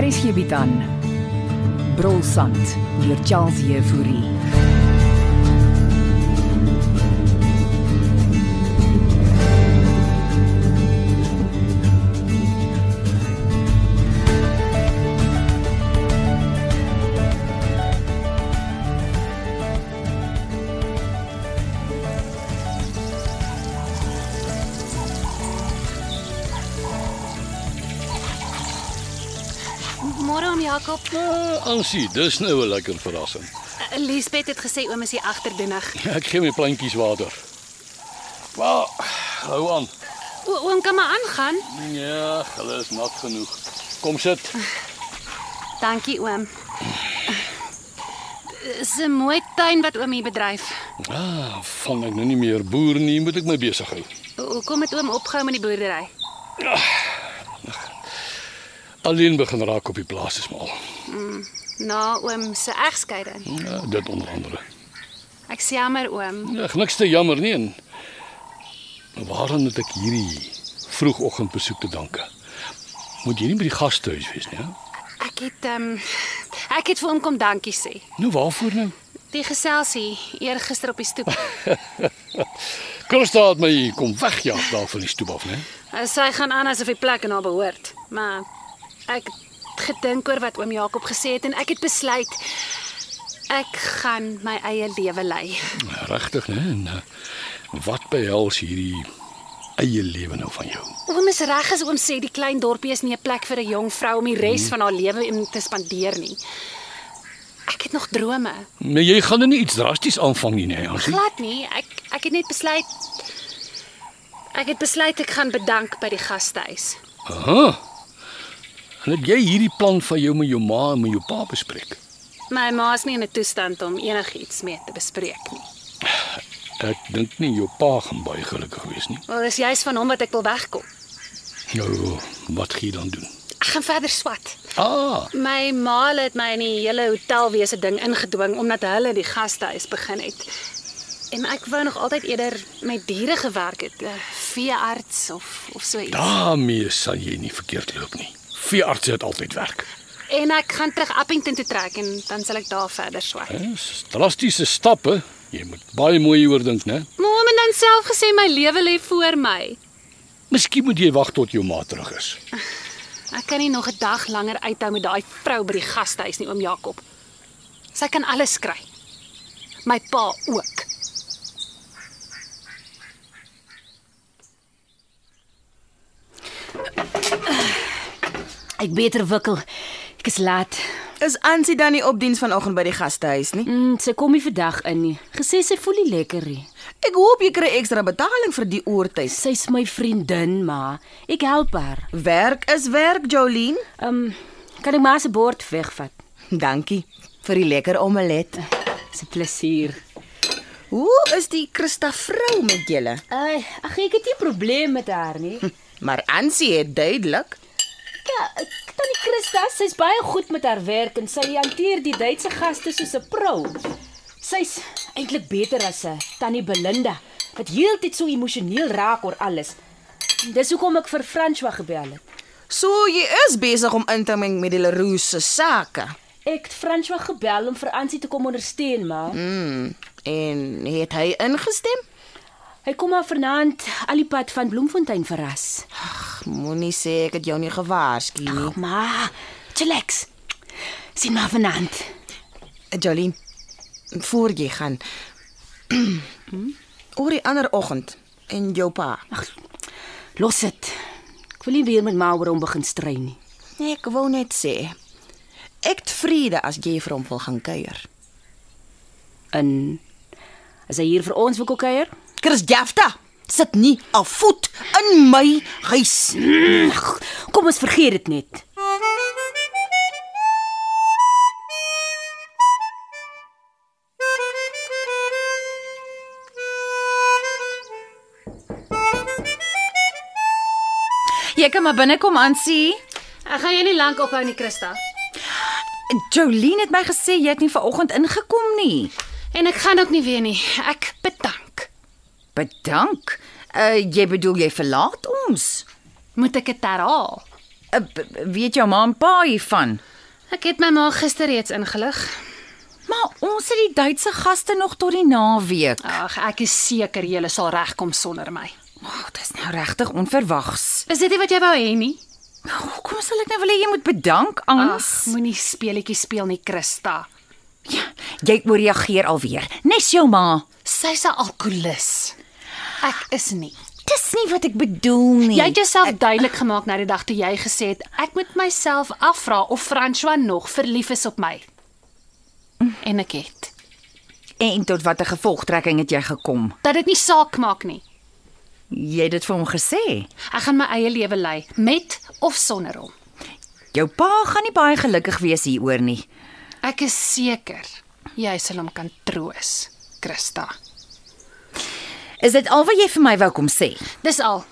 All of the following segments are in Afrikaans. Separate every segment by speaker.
Speaker 1: Hier is hierby dan. Brolsand deur Charles Euphorie.
Speaker 2: Môre om Jakob.
Speaker 3: Uh, Ansie, dis nou 'n lekker verrassing.
Speaker 2: Eh, Liesbeth het gesê oom is hier agterdoenig.
Speaker 3: Ek gee my plantjies water. Maar hou aan.
Speaker 2: O, oom kan maar aangaan.
Speaker 3: Ja, hulle is nat genoeg. Kom sit.
Speaker 2: Dankie oom. Dis Eh, 'n mooi tuin wat oom hier bedryf.
Speaker 3: Ah, van ek nou nie meer boer nie, moet ek my besig hou.
Speaker 2: Ho- Hoekom het oom opgehou met die boerdery?
Speaker 3: Alleen begin raak op die plaas is maar. al.
Speaker 2: Na oom se egskeiding.
Speaker 3: Ja, dit onder andere.
Speaker 2: Ek sê jammer oom.
Speaker 3: Ja, niks te jammer nie. En waaraan het ek hierdie vroegoggend besoek te danke? Moet jy nie by die gastehuis wees nie. Hè?
Speaker 2: Ek het ehm um, ek het vir oom kom dankie sê.
Speaker 3: Nou waarvoor nou?
Speaker 2: Die geselsie eergister op die stoep.
Speaker 3: Kirsta het my kom wegjaag daar van die stoep af, né?
Speaker 2: Eh, Sy gaan aan asof die plek aan haar behoort, maar ek het gedink oor wat oom Jakob gesê het en ek het besluit ek gaan my eie lewe lei.
Speaker 3: Regtig, né? En eh, wat behels hierdie eie lewe nou van jou?
Speaker 2: Oom is reg as oom sê die klein dorpie is nie 'n plek vir 'n jong vrou om die res van haar lewe in te spandeer nie. Ek het nog drome.
Speaker 3: Maar jy gaan nou nie iets drasties aanvang nie, né, Ansie?
Speaker 2: Glad nie. Ek ek het net besluit ek het besluit ek gaan bedank by die gastehuis.
Speaker 3: Aha. En het jy hierdie plan van jou met jou ma en met jou pa bespreek?
Speaker 2: My ma is nie in 'n toestand om enigiets mee te bespreek nie.
Speaker 3: Ek dink nie jou pa gaan baie gelukkig wees nie.
Speaker 2: Wel, dis juis van hom wat ek wil wegkom.
Speaker 3: Nou, wat gaan jy dan doen?
Speaker 2: Ek gaan verder swat.
Speaker 3: Ah,
Speaker 2: My ma hulle het my in die hele hotelwese ding ingedwing omdat hulle die gastehuis begin het. En ek wou nog altyd eerder met diere gewerk het, 'n veearts of of so iets.
Speaker 3: daarmee sal jy nie verkeerd loop nie. Veearts het altyd werk.
Speaker 2: En ek gaan terug Appington toe trek en dan sal ek daar verder swat.
Speaker 3: Dis drastiese stappe. Jy moet baie mooi hieroor dink, né?
Speaker 2: Mom het dan self gesê my lewe lê voor my.
Speaker 3: Miskien moet jy wag tot jou ma terug is.
Speaker 2: Ek kan nie nog 'n dag langer uithou met daai vrou by die gastehuis nie, oom Jakob. Sy kan alles kry. My pa ook.
Speaker 4: Ek beter wikkel. Ek is laat.
Speaker 5: Is Ansie dan nie op diens vanoggend by die gastehuis nie?
Speaker 4: Mm, sy kom nie vandag in nie. Gesê sy voel nie lekker nie.
Speaker 5: Ek hoop jy kry ekstra betaling vir die oortyd.
Speaker 4: Sy's my vriendin, maar ek help haar.
Speaker 5: Werk is werk, Jolene.
Speaker 4: Ehm, um, kan ek maar se bord wegvat.
Speaker 5: Dankie vir die lekker omelet.
Speaker 4: Dis 'n plesier.
Speaker 5: Hoe is die Christa vrou met julle? Hm,
Speaker 4: Ai, ag ek het nie probleem met haar nie.
Speaker 5: Maar Ansie het duidelik
Speaker 4: Ja, ek- tannie Christa, sy's baie goed met haar werk en sy hanteer die Duitse gaste soos 'n pro. Sy's eintlik beter as 'n tannie Belinda wat heeltyd so emosioneel raak oor alles. En Dis hoekom ek vir François gebel het.
Speaker 5: so jy is besig om in te meng met die Leroux se sake
Speaker 4: Ek het François gebel om vir Ansie te kom ondersteun, maar
Speaker 5: Mm, en het hy ingestem?
Speaker 4: hy kom maar vanaand al die pad van Bloemfontein verras.
Speaker 5: Ag, Moenie sê ek het jou nie gewaarsku nie.
Speaker 4: Ma, chillax. Sien maar vanaand.
Speaker 5: Jolene, voor jy gaan. Oor die ander oggend en jou pa.
Speaker 4: Los dit. Ek wil nie weer met ma oor hom begin stry nie.
Speaker 5: Nee, Ek wou net sê ek het vrede as jy vir hom wil gaan kuier.
Speaker 4: in as hy hier vir ons wil kom kuier.
Speaker 5: Chris Jafta sit nie 'n voet in my huis.
Speaker 4: Ag, Kom ons vergeet dit net.
Speaker 6: Jy kan maar binnekom aan sien.
Speaker 2: Ek gaan jou nie lank ophou nie, Christa.
Speaker 1: Jolien het my gesê jy het nie vanoggend ingekom nie.
Speaker 2: En ek gaan ook nie weer nie. Ek bedank.
Speaker 1: Bedank. Uh jy bedoel jy verlaat ons.
Speaker 2: Moet ek dit herhaal?
Speaker 1: Uh, b- b- weet jou ma en pa hiervan?
Speaker 2: Ek het my ma gister reeds ingelig.
Speaker 1: Maar ons het die Duitse gaste nog tot die naweek.
Speaker 2: Ag, ek is seker julle sal regkom sonder my.
Speaker 1: Oh, dis nou regtig onverwags.
Speaker 2: Is dit nie wat jy wou hê nie?
Speaker 1: Hoekom sal ek nou wil hê jy moet bedank
Speaker 2: Ag,
Speaker 1: ans?
Speaker 2: moenie speletjies speel nie, Christa.
Speaker 1: Jy ooreageer alweer. Nes jou ma.
Speaker 2: Sy's 'n alkolikus. Ek is nie.
Speaker 1: Dis nie wat ek bedoel
Speaker 4: Nee,
Speaker 1: nie.
Speaker 2: Jy het jouself duidelik gemaak na die dag toe jy gesê het ek moet myself afvra of François nog verlief is op my. En ek het
Speaker 1: en tot watter gevolgtrekking het jy gekom?
Speaker 2: dat dit nie saak maak nie.
Speaker 1: Jy het dit vir hom gesê.
Speaker 2: Ek gaan my eie lewe lei met of sonder hom.
Speaker 1: Jou pa gaan nie baie gelukkig wees hieroor nie.
Speaker 2: Ek is seker jy sal hom kan troos, Christa.
Speaker 1: Is dit al wat jy vir my wou kom sê?
Speaker 2: Dis al.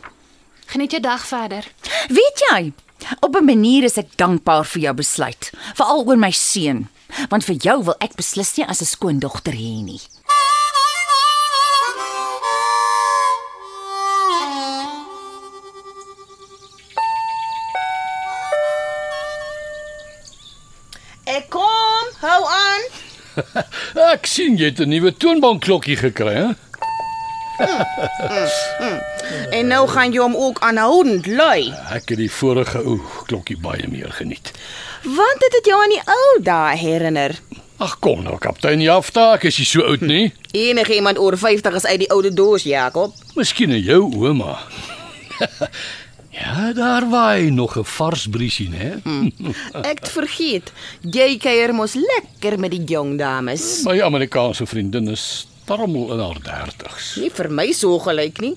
Speaker 2: Geniet jou dag verder.
Speaker 1: Weet jy, op 'n manier is ek dankbaar vir jou besluit, veral oor my seun, want vir jou wil ek beslis nie as 'n skoondogter hê nie.
Speaker 5: Ek Eh, kom, hou aan.
Speaker 3: Ek sien jy het 'n nuwe toonbankklokkie gekry, hè?
Speaker 5: En nou gaan jy hom ook aanhoudend lui.
Speaker 3: Ek het die vorige ou klokkie baie meer geniet.
Speaker 5: Want dit het jou aan die ou dae herinner.
Speaker 3: Ag kom nou, kaptein Jafta, ek is nie so oud nie.
Speaker 5: Enige iemand oor 50 is uit die oude doos, Jakob.
Speaker 3: Miskien in jou ouma. ja, daar waai nog 'n vars briesie, hè?
Speaker 5: Ek het vergeet. Jy kuier mos lekker met die jong dames.
Speaker 3: My Amerikaanse vriendin is tarmel in haar 30's.
Speaker 5: Nie vir my so gelyk nie.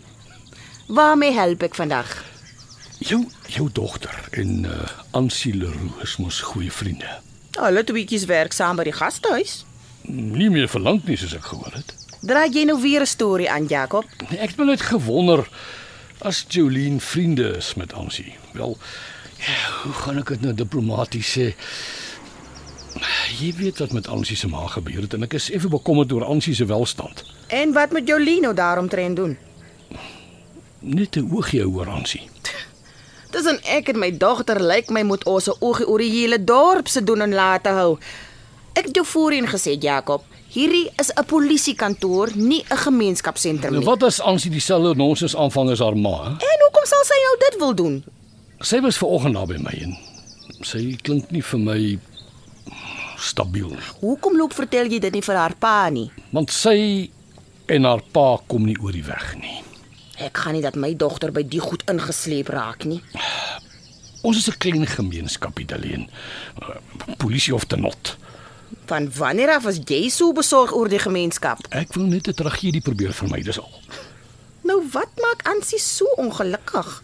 Speaker 5: Waarmee help ek vandag?
Speaker 3: Jou jou dogter en uh, Ansie Leroux is mos goeie vriende.
Speaker 5: Hulle tweeetjies werk saam by die gastehuis.
Speaker 3: Nie meer verlang nie soos ek gehoor het.
Speaker 5: Draai jy nou weer 'n storie aan, Jakob?
Speaker 3: Nee, Ek het my net gewonder as Jolien vriende is met Ansie. Wel, ja, hoe gaan ek dit nou diplomaties sê? Jy weet wat met Ansie se ma gebeur het en ek is effe bekommerd oor Ansie se welstand.
Speaker 5: En wat moet Jolino daaromtrent doen?
Speaker 3: Net 'n oogie hou oor Ansie.
Speaker 5: Tussen ek en my dogter lyk my moet ons 'n oogie oor die hele dorp se doen en late hou. Ek het jou voorheen gesê, Jakob, hierdie is 'n polisiekantoor, nie 'n gemeenskapsentrum
Speaker 3: Nou
Speaker 5: nie.
Speaker 3: wat as Ansie dieselfde nonsens aanvang as haar ma? hè?
Speaker 5: En hoekom sal sy nou dit wil doen?
Speaker 3: Sy was ver oggend daar by my en sy klink nie vir my stabiel nie,
Speaker 5: Hoekom loop vertel jy dit nie vir haar pa nie?
Speaker 3: want sy en haar pa kom nie oor die weg nie.
Speaker 5: Ek gaan nie dat my dogter by die goed ingesleep raak nie.
Speaker 3: Ons is 'n klein gemeenskapie alleen. Polisie of te not.
Speaker 5: Van wanneer af was jy so besorg oor die gemeenskap?
Speaker 3: Ek wil net 'n tragedie probeer vermy, dis al.
Speaker 5: Nou wat maak Ansie so ongelukkig?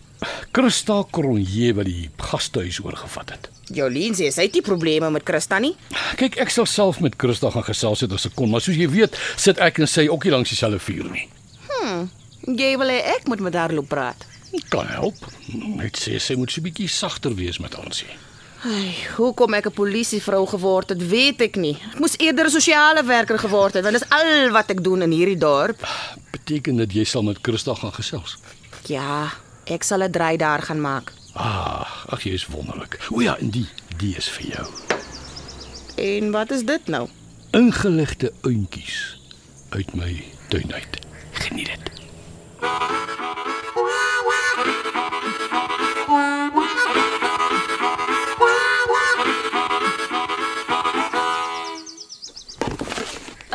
Speaker 3: Christa Cronje wat die gastehuis oorgevat het.
Speaker 5: Jolien sê sy het nie probleme met Christa nie.
Speaker 3: Kyk, ek sal self met Christa gaan gesels het as ek kon, maar soos jy weet, sit ek en sy ook nie langs dieselfde vuur nie.
Speaker 5: Jy wil hê ek moet met haar loop praat.
Speaker 3: Dit kan help. Net sê sy moet so 'n bietjie sagter wees met ons hier.
Speaker 5: Ai, hoekom ek 'n polisievrou geword het, weet ek nie. Ek moes eerder 'n sosiale werker geword het, want dit is al wat ek doen in hierdie dorp.
Speaker 3: Beteken dit jy sal met Christa gaan gesels?
Speaker 5: Ja, ek sal 'n draai daar gaan maak.
Speaker 3: Ah, ag jy is wonderlik. O ja, en die, die is vir jou.
Speaker 5: En wat is dit nou?
Speaker 3: Ingeligte uintjies uit my tuin uit. Geniet dit.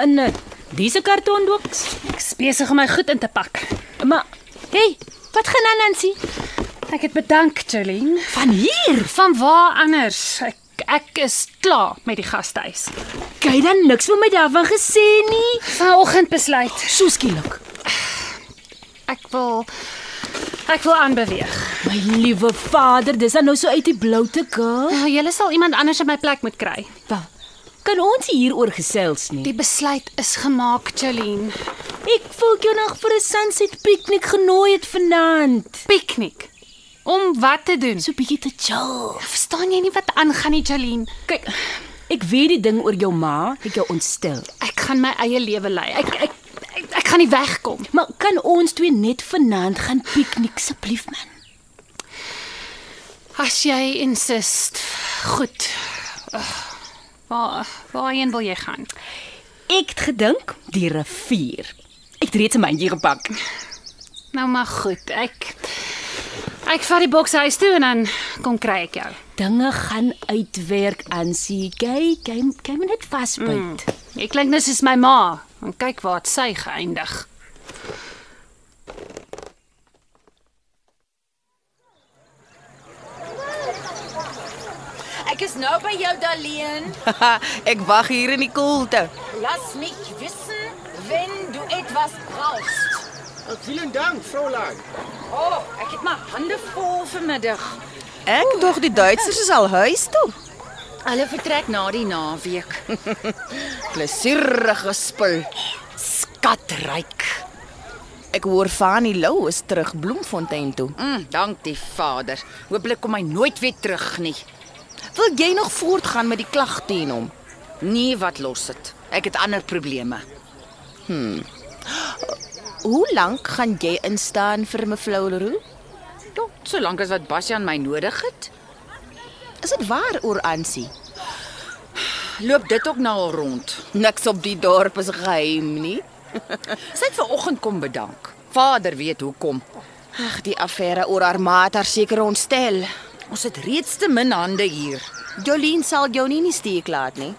Speaker 4: In eh, dise kartonboks.
Speaker 2: Ek is besig om my goed in te pak.
Speaker 4: Maar hey, wat gaan aan Nancy?
Speaker 2: Ek het bedank, Jolene.
Speaker 4: Van hier.
Speaker 2: Van waar anders? Ek ek is klaar met die gastehuis.
Speaker 4: Jy het dan niks vir my daarvan gesê nie.
Speaker 2: Vanoggend besluit.
Speaker 4: So skielik.
Speaker 2: Ek wil ek wil aanbeweeg.
Speaker 4: My liewe vader, dis dan nou so uit die blou te kom.
Speaker 2: Ja, Julle sal iemand anders in my plek moet kry.
Speaker 4: Wel, kan ons nie hieroor gesels nie?
Speaker 2: Die besluit is gemaak, Jolene.
Speaker 4: Ek voel ek jou nog vir 'n sunset piknik genooi het vanaand.
Speaker 2: Piknik. Om wat te doen?
Speaker 4: So bietjie te chill.
Speaker 2: Verstaan jy nie wat aangaan nie, Jolene?
Speaker 4: Kyk, ek weet die ding oor jou ma het jou ontstel.
Speaker 2: Ek gaan my eie lewe lei. Ek ek ek, ek gaan nie wegkom.
Speaker 4: Maar kan ons twee net vanaand gaan piknik asseblief man?
Speaker 2: As jy insist. Goed. Ugh, Waar waarheen wil jy gaan?
Speaker 4: Ek het gedink die rivier. Ek het reeds 'n mandjie gepak.
Speaker 2: Nou maar goed. Ek ek vat die boks huis toe en dan kom kry ek jou.
Speaker 4: Dinge gaan uitwerk aan sie. Jy jy jy moet net vasbyt. Mm.
Speaker 2: Jy klink net soos my ma. En kyk waar het sy geëindig.
Speaker 1: Ek is nou by jou Daleen.
Speaker 5: ek wag hier in die koelte.
Speaker 1: Lass mich wissen, wenn du etwas brauchst.
Speaker 7: Vielen Dank, Fräulein.
Speaker 1: Oh, ek het my hande vol vanmiddag.
Speaker 5: Ek dog die Duitsers is al huis toe.
Speaker 1: Hulle vertrek na die naweek.
Speaker 5: Plesierige spul.
Speaker 1: Skatryk.
Speaker 5: Ek hoor Fanny Lou is terug Bloemfontein toe.
Speaker 1: Mm, dank die Vader. Hooplik kom hy nooit weer terug nie.
Speaker 5: Wil jy nog voortgaan met die klag teen hom?
Speaker 1: Nee, wat los dit. Ek het ander probleme.
Speaker 5: Hoe lank gaan jy instaan vir mevrou Leroux?
Speaker 1: Ja, solank as wat Basjan my nodig het,
Speaker 5: Is dit waar oor Ansie?
Speaker 1: loop dit ook na al rond.
Speaker 5: Niks op die dorp is geheim nie.
Speaker 1: Sy het vanoggend kom bedank. Vader weet hoekom.
Speaker 5: Ag, die affære oor haar maat haar seker ontstel.
Speaker 1: Ons het reeds te min hande hier.
Speaker 5: Jolien sal jou nie in die steek laat nie.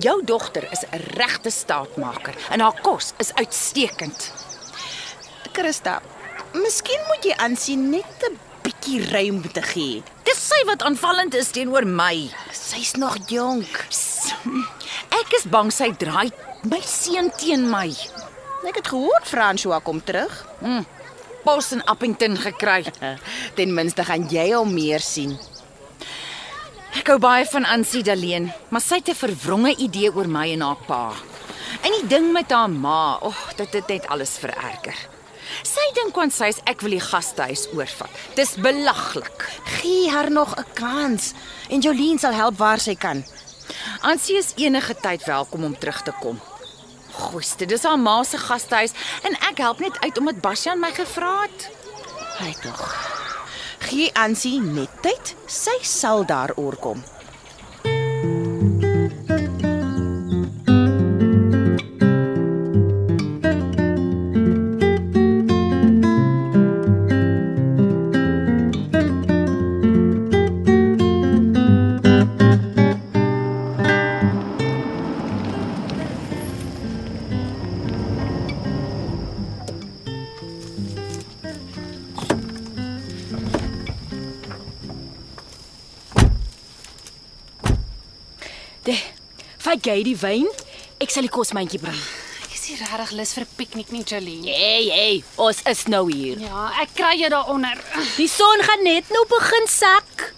Speaker 1: Jou dogter is 'n regte staatmaker en haar kos is uitstekend.
Speaker 5: Christa, miskien moet jy Ansie net 'n bietjie ruimte gee.
Speaker 1: Dis sy wat aanvallend is teenoor my.
Speaker 5: Sy's nog jonk.
Speaker 1: Ek is bang sy draai my seun teen my.
Speaker 5: Ek het gehoor François kom terug.
Speaker 1: Pos in Appington gekry.
Speaker 5: Ten minste gaan jy hom meer sien.
Speaker 1: Ek hou baie van Ansie Daleen, maar sy het 'n verwronge idee oor my en haar pa. En die ding met haar ma, o, oh, dit het net alles vererger. Sy dink want sy's ek wil die gastehuis oorvat. Dis belaglik.
Speaker 5: Gee haar nog 'n kans en Jolien sal help waar sy kan.
Speaker 1: Ansie is enige tyd welkom om terug te kom. Goeie, dis haar ma se gastehuis en ek help net uit omdat Basjan my gevra het.
Speaker 5: Hy tog. Gee Ansie net tyd, sy sal daaroor kom.
Speaker 4: Vat jy die wyn? Ek sal die kosmandjie bring.
Speaker 2: Ek is nie regtig lus vir 'n piknik nie, Jolene.
Speaker 4: Hey, hey, ons is nou hier.
Speaker 2: Ja, ek kry jou daaronder.
Speaker 4: Die son gaan net nou begin sak.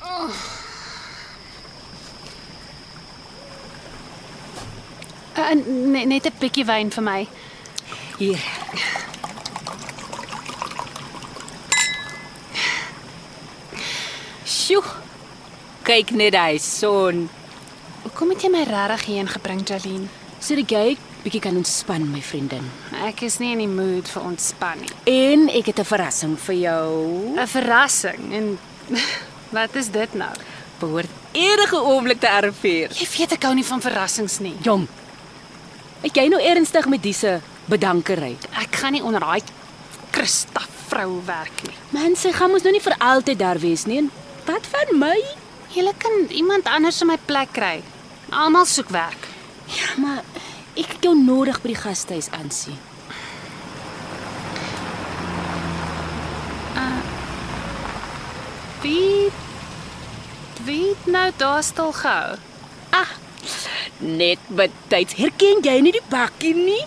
Speaker 2: Uh, net net 'n bietjie wyn vir my.
Speaker 4: Hier. Sjoe. Kyk net hy son.
Speaker 2: Hoekom het jy my regtig hierheen gebring, Jolene?
Speaker 4: Sodat jy bietjie kan ontspan, my vriendin.
Speaker 2: Ek is nie in die mood vir ontspanning.
Speaker 4: En ek het 'n verrassing vir jou.
Speaker 2: 'n Verrassing en wat is dit nou?
Speaker 4: Behoort enige oomblik te arriveer.
Speaker 2: Jy weet ek hou nie van verrassings nie.
Speaker 4: Jong. Ek jy nou ernstig met dise bedankery.
Speaker 2: Ek gaan nie onder daai Christa vrou werk nie.
Speaker 4: Mense gaan mos nou nie vir altyd daar wees nie. En wat van my?
Speaker 2: Jy kan iemand anders in my plek kry. Almal soek werk.
Speaker 4: Ja, maar ek het jou nodig by die gastehuis aansien.
Speaker 2: Ah. Wie wie het nou daar stil gehou?
Speaker 4: Net betyds herken jy nie die bakkie nie?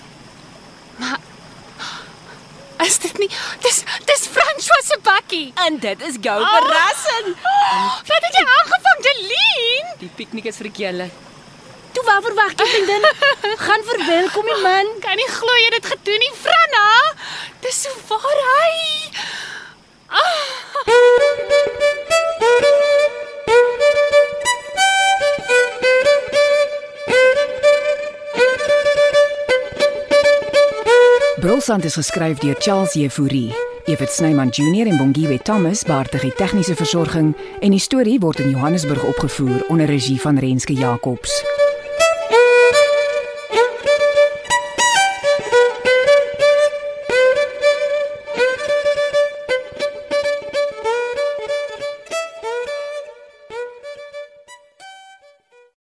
Speaker 2: Is dit nie dis dis François se bakkie?
Speaker 4: En dit is jou
Speaker 2: Ah!
Speaker 4: oh. verrassing.
Speaker 2: Wat het jy aangevang, Delien?
Speaker 4: Die piknik is vir julle. Toe waar verwag jy vriendin? Gaan verwelkom die man.
Speaker 2: Kan nie glo jy het dit gedoen nie, Franna. Dis so waar hy. Ah.
Speaker 1: Brolsand is geskryf deur Charles Jefouri. Evert Snyman Junior en Bongwe Thomas baartig die tegniese versorging en die storie word in Johannesburg opgevoer onder regie van Renske Jacobs.